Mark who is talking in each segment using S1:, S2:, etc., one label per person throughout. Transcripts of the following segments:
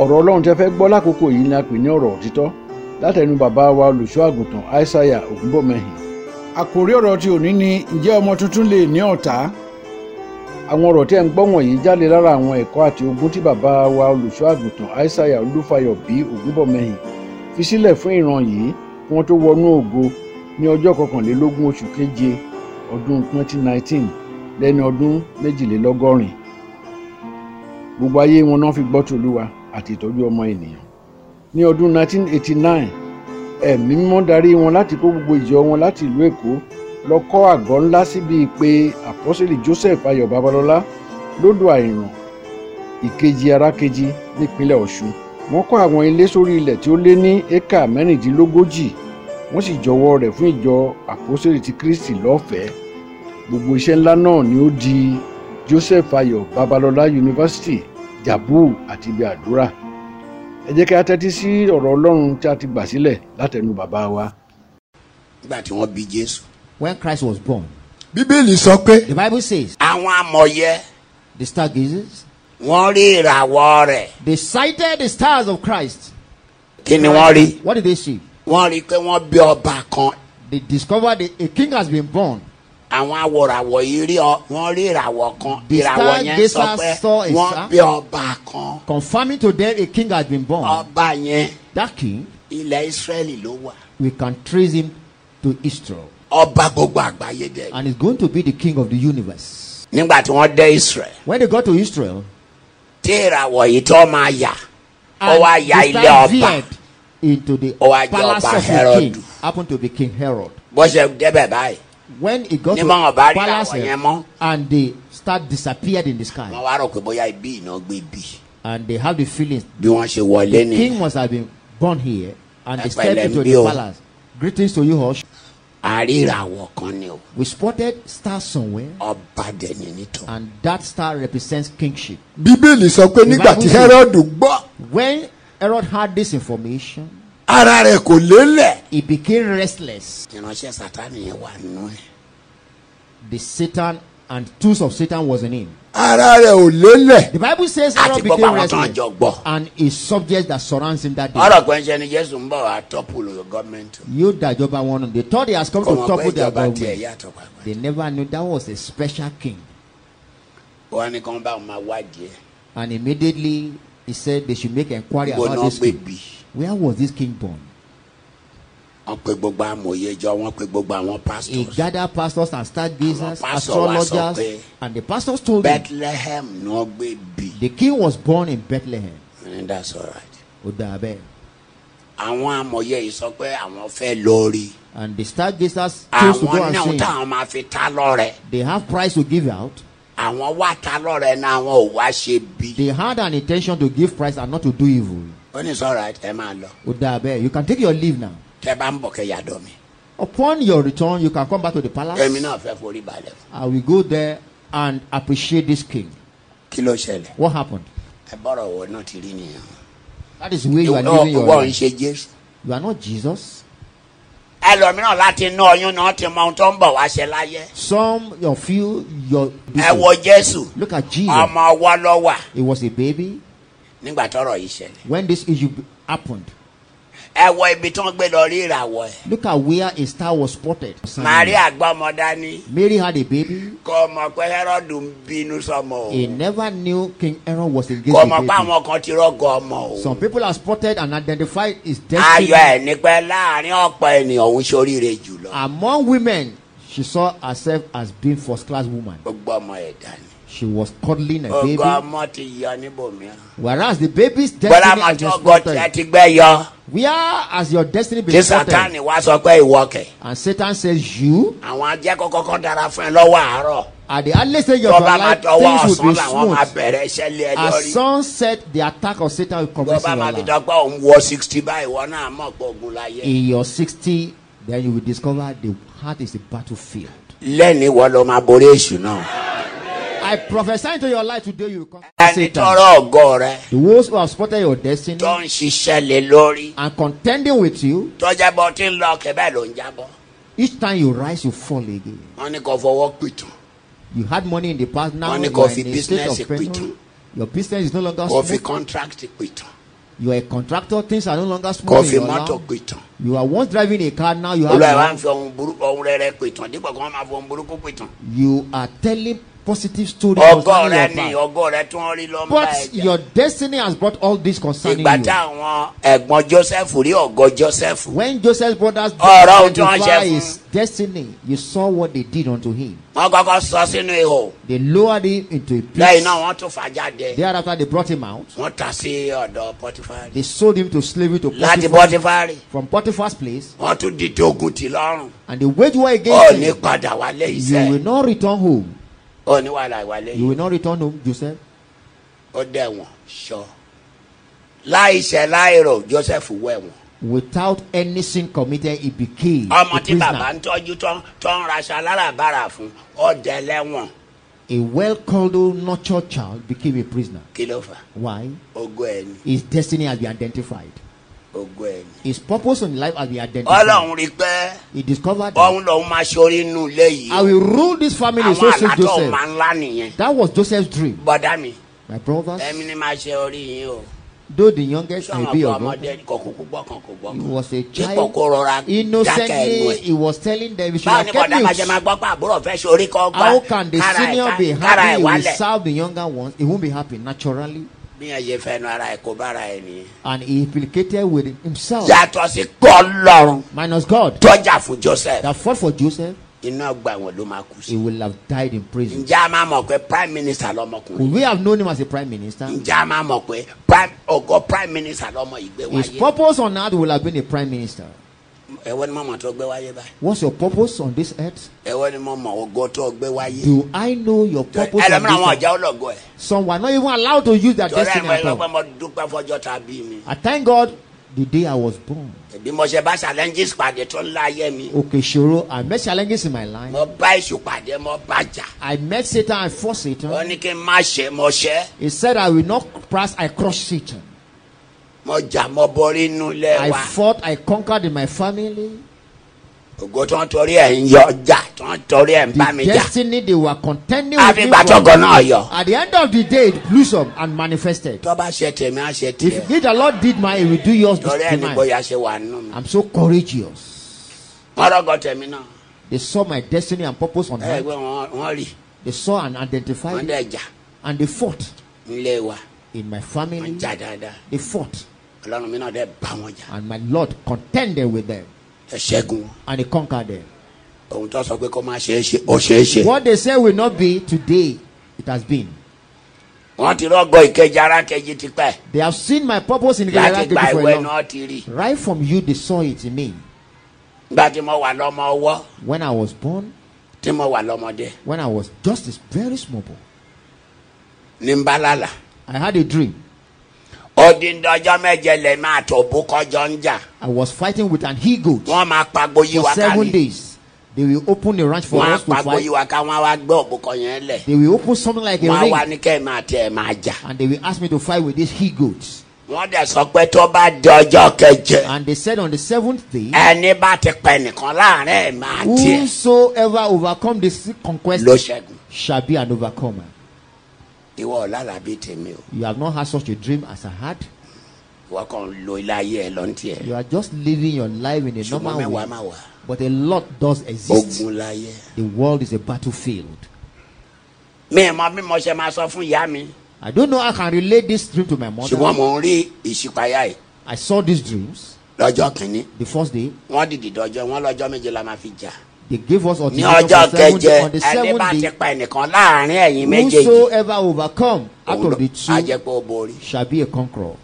S1: ọ̀rọ̀ ọlọ́run tẹ́ fẹ́ gbọ́ lákòókò yìí ni a pè ní ọ̀rọ̀ òtítọ́ látẹnu bàbá wa olùṣọ́ àgùntàn aishaiya ògúnbọ̀mẹ́hìn. àkòrí ọ̀rọ̀ ti òní ni ǹjẹ́ ọmọ tuntun lè ní ọ̀tá? àwọn ọ̀rọ̀ tẹ́ ń gbọ́ wọ̀nyí jáde lára àwọn ẹ̀kọ́ àti ogun tí bàbá wa olùṣọ́ àgùntàn aishaiya olúfayọ bí ògúnbọ̀mẹ́hìn fi sílẹ̀ fún ìran yìí kí wọ́n tó wọnú ògo ní ọjọ́ kọkànlélógún oṣù keje ọdún 2019 lẹ́ni ọdún méjìlélọ́gọ́rin gbogbo ayé wọn náà fi gbọ́ tòlúwa àti ìtọ́jú ọmọ ènìyàn ní ọdún 1989 ẹ̀mí mímọ́ darí wọn láti kó gbogbo ìjọ wọn láti ìlú èkó lọ kọ́ àgọ́ ńlá síbi ìpè àpọ́sẹ̀lì joseph ayọ̀ babalọ́lá lódò àìràn ìkejì arákejì nípínlẹ̀ ọ̀ṣun wọ́n kọ́ àwọn ilé sórí ilẹ̀ tí ó lé ní éka mẹ́rìndínlógójì wọ́n sì jọ̀wọ́ rẹ̀ fún ìjọ àpọ́sẹ̀lì ti kristi lọ́fẹ̀ẹ́ gbogbo iṣẹ́ ńlá náà ni ó di joseph ayọ̀ babalọ́lá university jabu àti ibi àdúrà ẹ jẹ́ kí a tẹ́tí sí ọ̀rọ̀ ọlọ́run tí a ti gbà sílẹ̀ látẹnu bàbá wa.
S2: nígbà tí wọ́n bí jésù.
S3: when Christ was born.
S4: bíbélì sọ pé
S3: The Bible says
S2: àwọn amọ̀yẹ
S3: the stargazers
S2: wọ́n rí ìràwọ̀ rẹ̀.
S3: they sighted the stars of Christ.
S2: kí ni wọ́n rí.
S3: What did they see?
S2: wọ́n rí i pé wọ́n bí ọba kan.
S3: They discovered a, a king has been born.
S2: àwọn awòràwọ̀ yìí rí ọ wọ́n rí ìràwọ̀ kan.
S3: The
S2: ìràwọ̀ yẹn sọ
S3: stargazers
S2: pé
S3: saw a
S2: wọ́n
S3: star.
S2: bí ọba kan.
S3: Confirming to them a king has been born.
S2: ọba yẹn
S3: that king,
S2: ilẹ̀ israẹli ló wà.
S3: we can trace him to Israel.
S2: ọba gbogbo àgbáyé dẹ̀.
S3: And he's going to be the king of the universe.
S2: nígbà tí wọ́n dé israẹli
S3: When they got to Israel,
S2: tí ìràwọ̀ yìí tó máa yà ó
S3: and
S2: wá ya
S3: the
S2: ilé ọba.
S3: star veered into the
S2: Ó wá jẹ́
S3: palace
S2: ọba
S3: of the
S2: Herod.
S3: king. Happened to be King Herod.
S2: bó ṣe débẹ̀ báyìí
S3: When he got
S2: Ní
S3: to
S2: báwọn ọba rí
S3: palace
S2: àwọn yẹn mọ́.
S3: and the star disappeared in the sky.
S2: wọ́n wá rò pé bóyá ibi ìná gbé bí
S3: and they have the feeling
S2: bí wọ́n ṣe wọlé
S3: the
S2: nìyẹn.
S3: king must have been born here and they
S2: Ẹ
S3: stepped
S2: pẹ̀lẹ́
S3: into
S2: bí
S3: the
S2: o.
S3: palace. Greetings to you, Hush.
S2: àríràwọ̀ kan ni o
S3: We spotted stars somewhere,
S2: ọba dẹni nítorí.
S3: and that star represents kingship.
S4: bíbélì sọ pé nígbà tí
S3: Bible-
S4: herod gbọ́
S3: When Herod had this information,
S4: ara rẹ̀ kò lélẹ̀
S3: he became restless.
S2: ìránṣẹ́ sátani yẹn wà nínú ẹ̀.
S3: The Satan and tools of Satan was in him.
S4: ara rẹ̀ ò lélẹ̀
S3: The Bible says
S2: Àti
S3: Herod
S2: gbogbo
S3: became
S2: àwọn tó ń jọ
S3: restless,
S2: gbọ́.
S3: and his subjects that surrounds him that day.
S2: ọ̀rọ̀ pé ń ṣe ni jésù ń bọ̀ wá tọ́pùlù gọ́ọ̀mẹ̀ntì.
S3: You dajoba one, they thought he has come
S2: kò
S3: to
S2: mọ̀ pé
S3: topple their
S2: ìjọba tiẹ̀
S3: government.
S2: yàtọ̀ pàápàá.
S3: They never knew that was a special king.
S2: wọ́n ní kí wọ́n bá wọn máa wádìí ẹ̀.
S3: And immediately he said they should make inquiry
S2: Níbo
S3: about
S2: náà
S3: this
S2: gbé
S3: king.
S2: bí?
S3: Where was this king born?
S2: wọ́n pe gbogbo amòye jọ wọ́n pe gbogbo àwọn
S3: He
S2: pastors.
S3: gathered pastors and stargazers,
S2: Àwọn pastor wa sọ
S3: astrologers,
S2: pé-
S3: and the pastors told him
S2: bethlehem ni wọ́n gbé bí.
S3: the king was born in Bethlehem.
S2: and that's alright.
S3: Ó dà bẹ́ẹ̀.
S2: àwọn amòye yìí sọ pé àwọn fẹ́ lórí.
S3: And the stargazers chose to
S2: àwọn
S3: go and
S2: náà
S3: sing.
S2: táwọn máa fi ta lọ́rẹ̀.
S3: They have prize to give out.
S2: àwọn wá ta lọ́rẹ̀ náà àwọn ò wá ṣe bí.
S3: They had an intention to give prize and not to do evil.
S2: ó ní sọ̀rọ̀ ẹ máa lọ.
S3: Ó dà bẹ́ẹ̀. You can take your leave now.
S2: tẹ bá ń bọ̀ kẹ́ yàdọ̀ mi.
S3: Upon your return, you can come back to the
S2: èmi
S3: palace.
S2: náà fẹ́ forí balẹ̀.
S3: I will go there and appreciate this king.
S2: kí ló ṣẹlẹ̀.
S3: What happened?
S2: ẹ bọ́rọ̀ wo náà ti rí nìyẹn.
S3: That is where you are
S2: Oh,
S3: living your
S2: ìwọ ń
S3: life.
S2: ṣe jésù.
S3: You are not Jesus.
S2: ẹlòmíràn láti inú ọyún náà ti mọ ohun tó ń bọ̀ wá ṣe láyé.
S3: Some of you, your
S2: ẹ wo jésù
S3: look at Jesus.
S2: ọmọ ọwọ́ ló wà
S3: He was a baby
S2: nígbà tọ́rọ̀ yìí ṣẹlẹ̀.
S3: when this issue b- happened.
S2: ẹ wo ibi tó ń gbé lọ rí ìràwọ̀ ẹ̀.
S3: Look at where a star was spotted.
S2: maria gbọ́mọdá ní
S3: Mary had a baby.
S2: kò mọ̀ pé hẹ́rọ́dù ń bínú sọmọ o.
S3: He never knew King Aaron was
S2: kò
S3: against
S2: mọ̀ pé
S3: the
S2: àwọn kan ti rọ́gọ ọmọ
S3: baby.
S2: o.
S3: Some people are spotted and identified his
S2: ayọ̀ ẹ̀
S3: destiny.
S2: ní pẹ́ láàrin ọ̀pọ̀ ènìyàn òun ṣoríire jùlọ.
S3: Ah. Among women, she saw herself as being first-class woman.
S2: gbogbo ọmọ ẹ̀ dání.
S3: She was cuddling a
S2: gbogbo
S3: Eh, baby,
S2: ọmọ ti yọ níbòmíràn.
S3: whereas the baby's
S2: bọ́lá
S3: destiny
S2: máa
S3: has
S2: tí
S3: been
S2: ọgọ́ tí ẹ
S3: spotted.
S2: ti gbẹ́ yọ.
S3: Where has your destiny
S2: tí
S3: been
S2: sátani
S3: spotted?
S2: wá sọ pé ìwọ kẹ̀.
S3: And Satan says, You
S2: àwọn ajẹ́kọ̀ọ́ kọ́kọ́ dára fún ẹ lọ́wọ́ àárọ̀.
S3: at the early stage of your
S2: bọ́ba máa
S3: life,
S2: tọwọ́
S3: things
S2: ọ̀sán
S3: will be
S2: làwọn máa
S3: smooth.
S2: bẹ̀rẹ̀ iṣẹ́ lé ẹ
S3: At
S2: lórí.
S3: sunset, the attack of Satan will commence
S2: bọ́ba
S3: in
S2: máa
S3: your
S2: fi
S3: life.
S2: dọ́gbọ́ òun wọ sixty báyìí wọ́n náà mọ̀ pé ogun láyé.
S3: In your 60, then you will discover the heart is a battlefield.
S2: lẹ́ni wọ́n lọ máa borí èṣù náà.
S3: I prophesy into your life today, you will conquer
S2: ẹni tọrọ
S3: Ah, Satan.
S2: ọgọ́ rẹ
S3: The ones who have spotted your destiny
S2: tó ń ṣiṣẹ́ lé lórí.
S3: and contending with you,
S2: tọ́jà bọ́ tí ń lọ kẹ́bẹ́ ló ń jábọ́.
S3: each time you rise, you fall again.
S2: wọ́n ní kò fọwọ́ pìtàn
S3: You had money in the past, now
S2: Money
S3: you are
S2: coffee
S3: in a state
S2: business
S3: of penury.
S2: equity.
S3: Your business is no longer
S2: kò fi
S3: smooth.
S2: contract pìtàn.
S3: You are a contractor, things are no longer
S2: kò
S3: smooth. in
S2: fi
S3: your
S2: mọ́tò
S3: life.
S2: pè tán
S3: You are once driving a car, now you have.
S2: olùwà wa ń fi ohun burúkú ohun rere pè tán dípò kí wọ́n máa fi ohun burúkú pè tán.
S3: You are telling positive stories.
S2: ọgọ́ rẹ
S3: concerning
S2: ni
S3: your past.
S2: ọgọ́ rẹ tí wọ́n rí lọ́mọ
S3: But
S2: ẹ̀jẹ̀
S3: your destiny has brought all this concerning
S2: ìgbà
S3: you.
S2: táwọn ẹ̀gbọ́n joseph rí ọgọ́ joseph
S3: When Joseph's brothers
S2: Ọ̀rọ̀ ojú wọn
S3: tried to
S2: ṣe
S3: try
S2: fún.
S3: his destiny, you saw what they did unto him.
S2: wọ́n kọ́kọ́ sọ sínú ihò
S3: They lowered him into a
S2: lẹ́yìn
S3: pit.
S2: náà wọ́n tún fà jáde
S3: Thereafter, they brought him out.
S2: wọ́n ta sí ọ̀dọ̀ pọtifari
S3: They sold him to slavery to
S2: láti
S3: Potiphar.
S2: pọtifari
S3: From Potiphar's place,
S2: wọ́n tún dìde ogun ti lọ́rùn
S3: and they waged war
S2: ó
S3: against
S2: Oh, ní
S3: him.
S2: padà wálé
S3: You will
S2: iṣẹ́
S3: not return home.
S2: ó ní wàhálà wálé
S3: You
S2: yìí
S3: will not return home, Joseph.
S2: ó dẹ̀wọ̀n sọ láìṣẹ̀ láìrò joseph wẹ̀wọ̀n
S3: Without any sin committed, he became a
S2: ọmọ tí bàbá ń
S3: prisoner.
S2: tọ́jú tó- tó ń raṣọ aláràbarà fún ó dẹ̀ lẹ́wọ̀n
S3: A well-called, nurtured child became a prisoner.
S2: kí ló fà
S3: Why?
S2: ogo ẹni
S3: His destiny has been identified.
S2: ogo ẹni.
S3: His purpose in life has been identified.
S2: ọlọ́run rí i pé
S3: He discovered that
S2: òun lòun máa ṣorí inú ilé
S3: I
S2: yìí
S3: will rule this family,
S2: àwọn
S3: so said
S2: àlátọ̀
S3: Joseph.
S2: máa ńlá nìyẹn
S3: That was Joseph's dream.
S2: bọ́dá mi
S3: My brothers,
S2: èmi ni máa ṣe orí yín o
S3: though the youngest may
S2: sọ̀rọ̀
S3: be
S2: pé
S3: your brother,
S2: ọmọdé kò kúkú gbọ́kàn kò
S3: he
S2: gbọ́kàn
S3: was a
S2: dípò kó
S3: child.
S2: rọra dákẹ́ ẹnu
S3: Innocently,
S2: ẹ̀
S3: he was telling them, you should
S2: báwo
S3: have
S2: ni bọ̀dá máa ṣe
S3: kept
S2: máa
S3: mute.
S2: gbọ́ pé àbúrò fẹ́ ṣorí kọ́ gbà
S3: How can the
S2: kára ẹ̀
S3: senior be
S2: ká- kára
S3: happy?
S2: ẹ̀
S3: He will
S2: wálẹ̀
S3: serve the younger ones. He won't be happy naturally.
S2: bí ẹ ṣe fẹnu ara ẹ̀ kó bára ẹ̀ nìyẹn.
S3: And he implicated with himself,
S2: yàtọ̀ sí kọ́ lọ́run
S3: minus God,
S2: tọ́jà fún joseph
S3: that fought for Joseph.
S2: iná gbà wọn ló máa kú
S3: He
S2: sí.
S3: will have died in prison.
S2: ǹjẹ́ a máa mọ̀ pé prime minister lọmọkùnrin
S3: Could we have known him as a prime minister?
S2: ǹjẹ́ a máa mọ̀ pé prime ọgọ́ prime minister lọmọ yìí gbé
S3: His
S2: wáyé
S3: purpose on earth will have been a prime minister.
S2: ẹ̀wọ́ ni mo mọ̀ tó gbé wáyé báyìí
S3: What's your purpose on this earth?
S2: ẹ̀wọ́ ni mo mọ̀ ọgọ́ tó gbé wáyé.
S3: Do I know your purpose on
S2: ẹlòmíràn àwọn
S3: this earth?
S2: ọ̀já ọlọ́gọ́ ẹ̀
S3: Some were not even allowed to use their
S2: torí ẹ̀
S3: destiny
S2: mọ̀
S3: at
S2: ẹ̀
S3: all.
S2: lọ́pẹ́ mo dúpẹ́ fọjọ́ ta bí mi.
S3: I thank God the day I was born.
S2: bí mo ṣe bá challenges pàdé tó ńlá ayé mi
S3: Okay, Shoro, I met challenges in my life.
S2: mo bá èṣù pàdé mo bá jà
S3: I met Satan, I fought
S2: ó
S3: Satan.
S2: ní kí n má ṣe mo ṣẹ́
S3: He said, I will not pass, I crushed Satan.
S2: mo jà mo borí inú ilé
S3: I
S2: wa
S3: fought, I conquered in my family.
S2: ògo tó ń torí ẹ̀ ń yọ jà tó ń torí ẹ̀ ń bá
S3: The
S2: mi jà
S3: destiny they were contending with
S2: àfi
S3: me
S2: ìgbà
S3: for.
S2: tọ́gọ̀ náà yọ.
S3: At the end of the day, it blew up and manifested.
S2: tó bá ṣe tèmi á ṣe tiẹ̀
S3: If, if the Lord did mine, He will do yours this
S2: torí ẹ̀ ní
S3: tonight.
S2: bóyá ṣe wà nínú mi.
S3: I'm so courageous.
S2: wọ́n rọ́gọ̀ tèmi náà
S3: They saw my destiny and purpose on
S2: ẹ
S3: earth.
S2: gbé wọn wọ́n rì
S3: They saw and
S2: wọ́n
S3: identified it,
S2: dẹ̀ jà
S3: and they fought
S2: nílé wa
S3: in my
S2: wọ́n
S3: family.
S2: jà dáadáa
S3: They fought,
S2: ọlọ́run mi náà dẹ̀ bá wọn jà
S3: and my Lord contended with them,
S2: ẹ ṣẹ́gun wọn
S3: and He conquered them.
S2: ohun tó sọ pé kó má ṣe é ṣe ó ṣe é ṣe.
S3: What they say will not be today, it has been.
S2: wọ́n ti rọ́gọ̀ ìkejì ara kejì tipẹ́
S3: They have seen my purpose in
S2: láti gba
S3: Galatia for
S2: ìwé
S3: a long.
S2: náà ti rí
S3: Right from you, they saw it in me.
S2: nígbà tí mo wà lọ́mọ ọwọ́
S3: When I was born,
S2: tí mo wà lọ́mọdé
S3: when I was just this very small boy,
S2: ní ń bá lálà
S3: I had a dream.
S2: ó dín ní ọjọ́ mẹ́jẹ lè máa tó bú kọjọ́ ń jà
S3: I was fighting with an he goat
S2: wọ́n máa pagbo yí
S3: for
S2: wa ká
S3: seven
S2: ní
S3: days. They will open a ranch for
S2: wọ́n á
S3: us to
S2: pagbo yí
S3: fight.
S2: wa ká wọ́n á wá gbé òbúkọ yẹn lẹ̀
S3: They will open something like a
S2: wọ́n á wá
S3: ring
S2: ní kẹ́ ẹ̀ máa tẹ́ ẹ̀ máa jà
S3: and they will ask me to fight with these he goats.
S2: wọ́n dẹ̀ sọ pé tó bá di ọjọ́ keje
S3: And they said on the seventh day,
S2: ẹni bá ti pẹ̀ nìkan láàrin ẹ̀ máa tiẹ̀
S3: Whosoever overcome this
S2: ló
S3: conquest
S2: ṣẹ́gun
S3: shall be an overcomer.
S2: ìwọ ọ̀làlà bíi tèmi o
S3: You have not had such a dream as I had.
S2: ìwọ kàn ń lo ilé ayé ẹ lọ́ntì ẹ̀
S3: You are just living your life in a
S2: ṣùgbọ́n
S3: normal
S2: mẹ́wàá
S3: way.
S2: máa wà
S3: But a lot does exist.
S2: ogun láyé.
S3: The world is a battlefield.
S2: mi ì mọ bí mo ṣe máa sọ fún ìyá mi
S3: I don't know how I can relate this dream to my
S2: ṣùgbọ́n
S3: mother.
S2: mò ń rí ìṣípayá yìí
S3: I saw these dreams
S2: lọ́jọ́ kìíní
S3: the first day.
S2: wọ́n dìde dọ́jọ́ wọn lọ́jọ́ méje la máa fi jà
S3: They gave us
S2: ní
S3: ultimatum
S2: ọjọ́
S3: for seven
S2: kẹjẹ
S3: days. On the
S2: ẹni bá
S3: seventh
S2: ti
S3: day,
S2: pa ẹnìkan láàrin ẹ̀yìn méjèèjì
S3: whosoever overcome out
S2: òun
S3: of the
S2: ló- á jẹ́ pé
S3: two
S2: ó borí
S3: shall be a conqueror.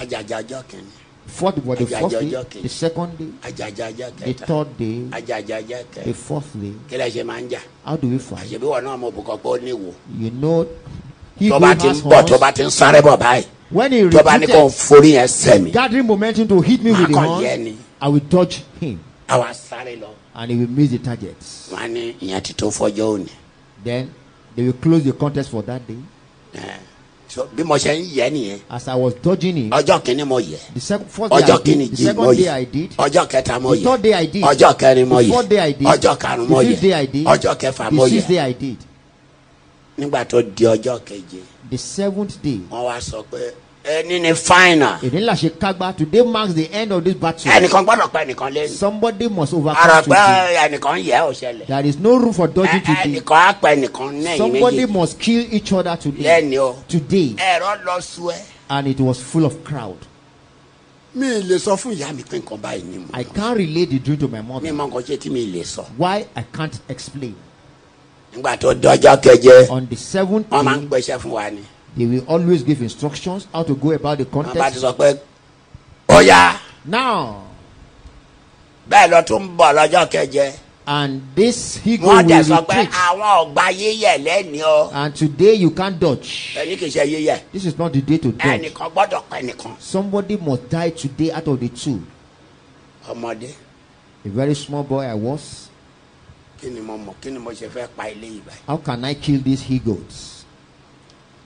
S2: àjàjà ọjọ́ kìíní
S3: Fought for the
S2: Ajá,
S3: first
S2: ajá,
S3: day,
S2: ajá, okay.
S3: the second day,
S2: àjàjà ọjọ́
S3: the
S2: kẹta
S3: third day,
S2: àjàjà ọjọ́
S3: the
S2: kẹta
S3: fourth day.
S2: kí lẹ ṣe máa ń jà
S3: How do we fight?
S2: àṣebí wọn náà mo bùkọ́ pé ó níwò
S3: You know, he
S2: tó
S3: goes
S2: bá ti ń bọ̀ tó bá ti ń sáré bọ̀ báyìí
S3: when he
S2: tó bá ní kó
S3: retreated,
S2: forí yẹn sẹ́mi
S3: gathering momentum to hit me with the
S2: Akon
S3: horns,
S2: yẹni.
S3: I will dodge him
S2: àwa sáré lọ
S3: and he will miss the targets.
S2: wọn á ní ìyẹn ti tó fọjọ́ òní
S3: Then they will close the contest for that day.
S2: Eh, so bí mo ṣe ń yẹ nìyẹn
S3: As I was dodging him,
S2: ọjọ́ kìíní mo yẹ
S3: the second, first day,
S2: ọjọ́
S3: I
S2: kìíní
S3: did, the
S2: jí mo
S3: second day I
S2: yẹ
S3: did,
S2: ọjọ́ kẹta mo
S3: the third day
S2: yẹ
S3: I did,
S2: ọjọ́ kẹrin mo
S3: the fourth day I
S2: yẹ
S3: did,
S2: ọjọ́ karùn-ún mo
S3: the fifth day I
S2: yẹ
S3: did,
S2: ọjọ́ kẹfà mo
S3: the sixth day
S2: yẹ
S3: I did,
S2: nígbà tó di ọjọ́ keje
S3: the seventh day.
S2: wọ́n wá sọ pé ẹni ni final
S3: ìnílà ṣe kágbá today marks the end of this battle.
S2: ẹnìkan gbọ́dọ̀ pa ẹnìkan lẹ́nu
S3: somebody must overcome today.
S2: àròpẹ́ ẹnìkan yẹ ọ́ ṣẹlẹ̀
S3: there is no room for dodging
S2: Ẹ-
S3: today.
S2: ẹnìkan á pa ẹnìkan lẹ́yìn
S3: somebody
S2: méjì
S3: must kill each other today.
S2: lẹ́ni o
S3: today
S2: ẹ̀rọ lọ sú ẹ.
S3: and it was full of crowd.
S2: mi lè sọ fún ìyá mi pé nǹkan báyìí ni mo
S3: I can't relate the dream to my
S2: mi
S3: mother.
S2: mọ nǹkan ṣe tí mi lè sọ.
S3: why I can't explain.
S2: nígbà tó dọjọ́ kẹjẹ
S3: on the seventh
S2: wọ́n máa ń
S3: day
S2: gbéṣẹ́ fún wa ni
S3: they will always give instructions how to go about the
S2: wọ́n bá ti
S3: contest.
S2: sọ pé ọ̀ya
S3: now
S2: bẹ́ẹ̀ lọ tún bọ̀ lọ́jọ́ kẹjẹ
S3: and this he go will
S2: wọ́n dẹ̀ sọ pé
S3: retreat
S2: àwọn ọ̀gbà yíyẹ lẹ́ni o
S3: and today you can't dodge.
S2: èyí kì í ṣe yíyẹ
S3: this is not the day to dodge.
S2: ẹnìkan gbọ́dọ̀ pa ẹnìkan
S3: somebody must die today out of the two.
S2: ọmọdé
S3: a very small boy I was.
S2: kí ni mo mọ̀ kí ni mo ṣe fẹ́ pa ilé yìí báyìí.
S3: how can I kill these he goats.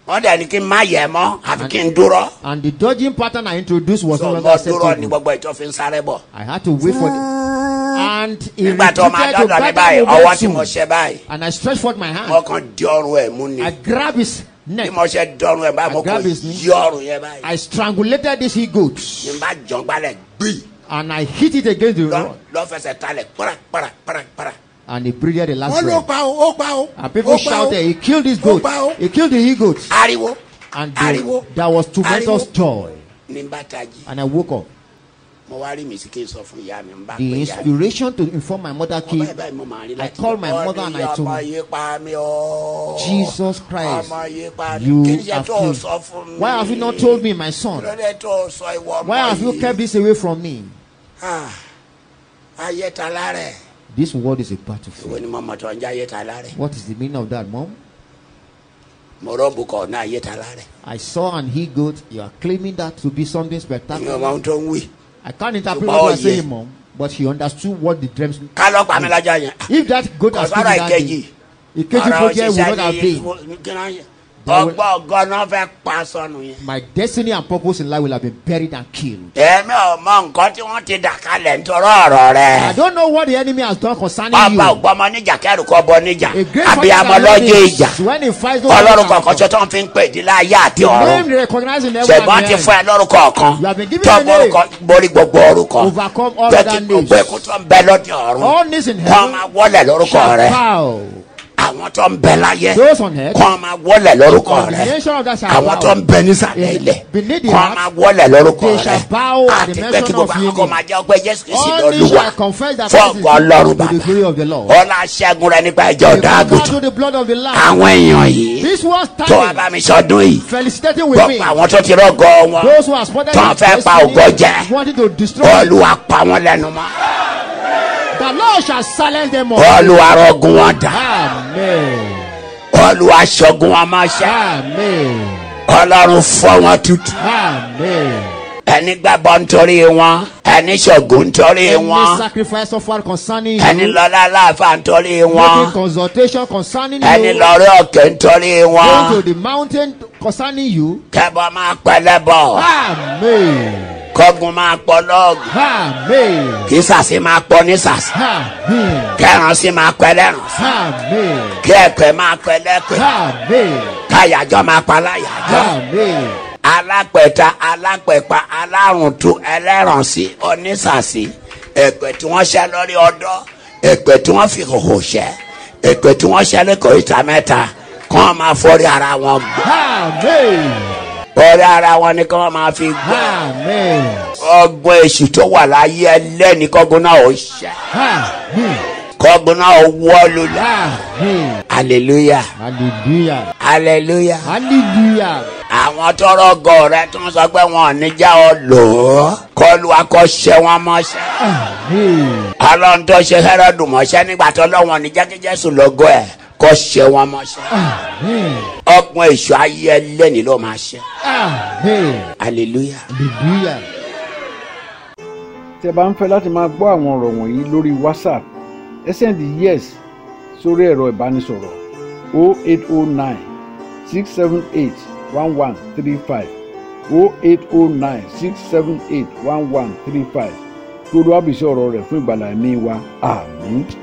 S2: wọ́n dẹ̀ ní kí n má yẹ̀ mọ́ àfi kí n dúró
S3: and the dodging pattern I introduced was
S2: so
S3: no longer
S2: mo dúró ní
S3: acceptable.
S2: gbogbo ìtọ́ fi ń sáré bọ̀
S3: I had to wait for the and he
S2: nígbà tó máa
S3: retreated to
S2: dọ́dọ̀ mi
S3: gather
S2: báyìí ọwọ́ tí mo
S3: momentum
S2: ṣe báyìí
S3: and I stretched forth my hand.
S2: mo kàn di ọrùn ẹ̀ mú ni
S3: I grabbed his
S2: bí
S3: neck.
S2: mo ṣe dọrùn ẹ̀ báyìí mo kàn
S3: I grab his knee.
S2: yí ọrùn yẹn báyìí
S3: I strangulated this he goat
S2: ní n bá jọ gbalẹ̀ gbì
S3: and I hit it against the
S2: lọ-
S3: rock
S2: lọ́fẹsẹ̀ talẹ̀ para para para para
S3: and it breathed the last
S4: wọ́n ló
S3: breath.
S4: pa ó ó pa ó.
S3: And people
S4: ó pa ó.
S3: shouted, He killed this
S4: Ó
S3: goat.
S4: pa ó.
S3: He killed the he goat.
S2: ariwo
S3: And
S2: Ah, ariwo
S3: there, there was tumultuous
S2: ariwo.
S3: joy.
S2: ní n bá tají
S3: And I woke up.
S2: mo wá rí mi sí kí n sọ fún ìyá mi n bá pè
S3: The
S2: ìyá mi
S3: inspiration to inform my mother
S2: ọmọ ẹ̀
S3: came.
S2: báyìí mo máa rí
S3: I
S2: láti
S3: called my
S2: ọ̀rẹ́
S3: mother and I
S2: ọmọ
S3: told her,
S2: yìí pa mí o.
S3: Jesus Christ,
S2: ọmọ yìí pa mí
S3: You
S2: kí ni ṣe
S3: have
S2: tó o sọ fún mi.
S3: killed. Why have you not told me, my
S2: kí ló
S3: son?
S2: dé tó o sọ ìwọ ọmọ yìí.
S3: Why have you kept this away from me?
S2: Ah, ayẹta lára ẹ.
S3: This world is a
S2: ìwọ
S3: battlefield.
S2: ni mo mọ̀ tó ń jẹ́ ayẹta lára ẹ.
S3: What is the meaning of that, mom?
S2: mo rọ́ọ̀bù kọ̀ ní ayẹta lára ẹ.
S3: I saw an he goat. You are claiming that to be something
S2: mi
S3: spectacular.
S2: ò mọ ohun tó ń wí.
S3: I can't interpret
S2: Ṣùgbọ́n ó
S3: what you are
S2: yẹ.
S3: saying, mom, but she understood what the dreams.
S2: ká lọ́ pa mi lọ́jọ́ yẹn. Ah,
S3: If that goat has been
S2: Ọ̀sọ́rọ̀
S3: that
S2: ìkejì.
S3: day, Ikeji project would not have been.
S2: been.
S3: There will-
S2: ọgbọ́n ọgọ́nà fẹ́ pa sọnù yẹn.
S3: My destiny and purpose in life will have been buried and killed.
S2: èmi ò mọ nǹkan tí wọ́n ti dà kalẹ̀ nítorí ọ̀rọ̀
S3: I
S2: rẹ.
S3: don't know what the enemy has done concerning you.
S2: bàbá ògbọ́mọ níjà kẹ́rù kọ́ bọ níjà
S3: A great
S2: abiyamọ
S3: father
S2: lọ́jọ́ ìjà
S3: is when he fights no
S2: ọlọ́run
S3: one
S2: kọ̀ọ̀kan
S3: can come.
S2: ṣe tó ń fi ń pè dín láyé àti
S3: The name
S2: ọ̀run
S3: they recognize in heaven
S2: ṣẹ̀gbọ́n
S3: and
S2: ti
S3: earth.
S2: fún ẹ lórúkọ ọ̀kan
S3: You have been given
S2: tó
S3: a name.
S2: borúkọ borí gbogbo orúkọ
S3: Overcome all
S2: bẹ́ẹ̀ ti
S3: other
S2: gbogbo
S3: names.
S2: ẹ̀kú tó ń bẹ lọ́dún ọ̀run
S3: All knees in
S2: kọ́ máa
S3: heaven
S2: wọlé lórúkọ
S3: shall
S2: rẹ
S3: bow.
S2: àwọn tó ń bẹ láyé
S3: Those on earth,
S2: kọ́ máa wọlé lórúkọ
S3: on
S2: Eh. rẹ
S3: the nation of that shall Eh,
S2: àwọn tó
S3: bow.
S2: ń bẹ nísàlẹ̀ ilẹ̀
S3: Beneath the
S2: kọ́
S3: earth,
S2: máa wọlé lórúkọ
S3: they
S2: rẹ
S3: shall bow at the
S2: àti pé
S3: mention
S2: kí gbogbo
S3: of
S2: àwọn
S3: your
S2: kan
S3: name.
S2: máa jẹ́ ọgbẹ́ jésù kìí sí
S3: All knees
S2: lọ́lùwà
S3: shall confess that
S2: fún
S3: Christ is
S2: ọgbọ́n ọlọ́run
S3: to the
S2: bàbá
S3: glory of the Lord.
S2: ọlá aṣẹ́gun rẹ nípa ìjọ
S3: They
S2: ọ̀dọ́
S3: bow
S2: àgùntàn
S3: to the blood of the Lamb.
S2: àwọn èèyàn yìí
S3: This was
S2: tó wá
S3: time
S2: bá mi sọdún yìí
S3: felicitating with me.
S2: gbọ́pọ̀ àwọn tó ti rọ́gọ wọn
S3: Those who have spotted
S2: Tán fẹ́ pa ògo jẹ.
S3: wanting to destroy you.
S2: olúwa pa wọn lẹ́nu mọ́
S3: The Lord shall silence them all.
S2: olúwa rọ́gùn wọn dà
S3: Amen.
S2: olúwa ṣọgun wọn máa ṣe
S3: Amen.
S2: ọlọ́run fọ́ wọn tutù
S3: Amen.
S2: ẹni gbàgbọ́ nítorí wọn ẹni ṣọ̀gùn nítorí
S3: Any
S2: wọn
S3: sacrifice suffered concerning
S2: ẹni
S3: you,
S2: lọ́lá láàfà nítorí
S3: any
S2: wọn
S3: consultation concerning
S2: ẹni
S3: you,
S2: lọ́rí òkè nítorí
S3: going
S2: wọn
S3: to the mountain concerning you.
S2: kẹ́bọ máa pẹlẹ́bọ
S3: Amen.
S2: kọ́gun máa pọ lọ́ọ̀gù
S3: Amen.
S2: kí sàsí máa pọ ní sàsí
S3: Amen.
S2: kẹ́ran sí máa pẹlẹ́ràn sí
S3: Amen.
S2: kí ẹ̀pẹ́ máa pẹlẹ́pẹ́
S3: Amen.
S2: káyàjọ́ máa pa láyàjọ́.
S3: Amen.
S2: alápẹ̀ta alápẹ̀pa alárùntún ẹlẹ́rànsí onísàsí ẹ̀pẹ̀ tí wọ́n ṣẹ́ lórí ọdọ́ ẹ̀pẹ̀ tí wọ́n fi hòhò ṣẹ́ ẹ̀pẹ̀ tí wọ́n ṣẹ́ lẹ́kọ̀ọ́ ìta mẹ́ta kí wọ́n máa fọ́rí ara wọn gbọ́
S3: Amen.
S2: orí ara wọn ni kí wọ́n máa fi gbọ́
S3: Amen.
S2: ọgbọ́n èṣù tó wà láyé ẹlẹ́ni kọ́gun náà ó ṣẹ́
S3: Amen.
S2: kọ́gun náà ó wọ́lu lọ
S3: Amen.
S2: hallelujah
S3: Hallelujah.
S2: hallelujah
S3: Hallelujah.
S2: àwọn tọrọ gọ rẹ tó ń sọ pé wọn ò ní já ọ lò ó kọlu akọ́ṣẹ́ wọn mọ́ṣẹ́.
S3: Amen.
S2: ọlọ́run tó ṣe hẹ́rọ́dù mọ́ṣẹ́ nígbà tó lọ́wọ́n ní jákèjẹ́sù lọ́gọ́ ẹ̀ kó ṣe wọn mọ́ṣẹ́.
S3: Amen.
S2: ọgbọ́n èṣù ayé ẹlẹ́ni ló máa ṣe
S3: Amen.
S2: hallelujah.
S3: Hallelujah.
S1: tẹ bá ń fẹ́ láti máa gbọ́ àwọn ọ̀rọ̀ wọ̀nyí lórí whatsapp ẹ sẹ́ndì yes sórí ẹ̀rọ ìbánisọ̀rọ̀ 0809 678 1135 0809 678 1135 kí olúwàbìsí ọ̀rọ̀ rẹ̀ fún ìgbàlá ẹ̀mí wa àmín.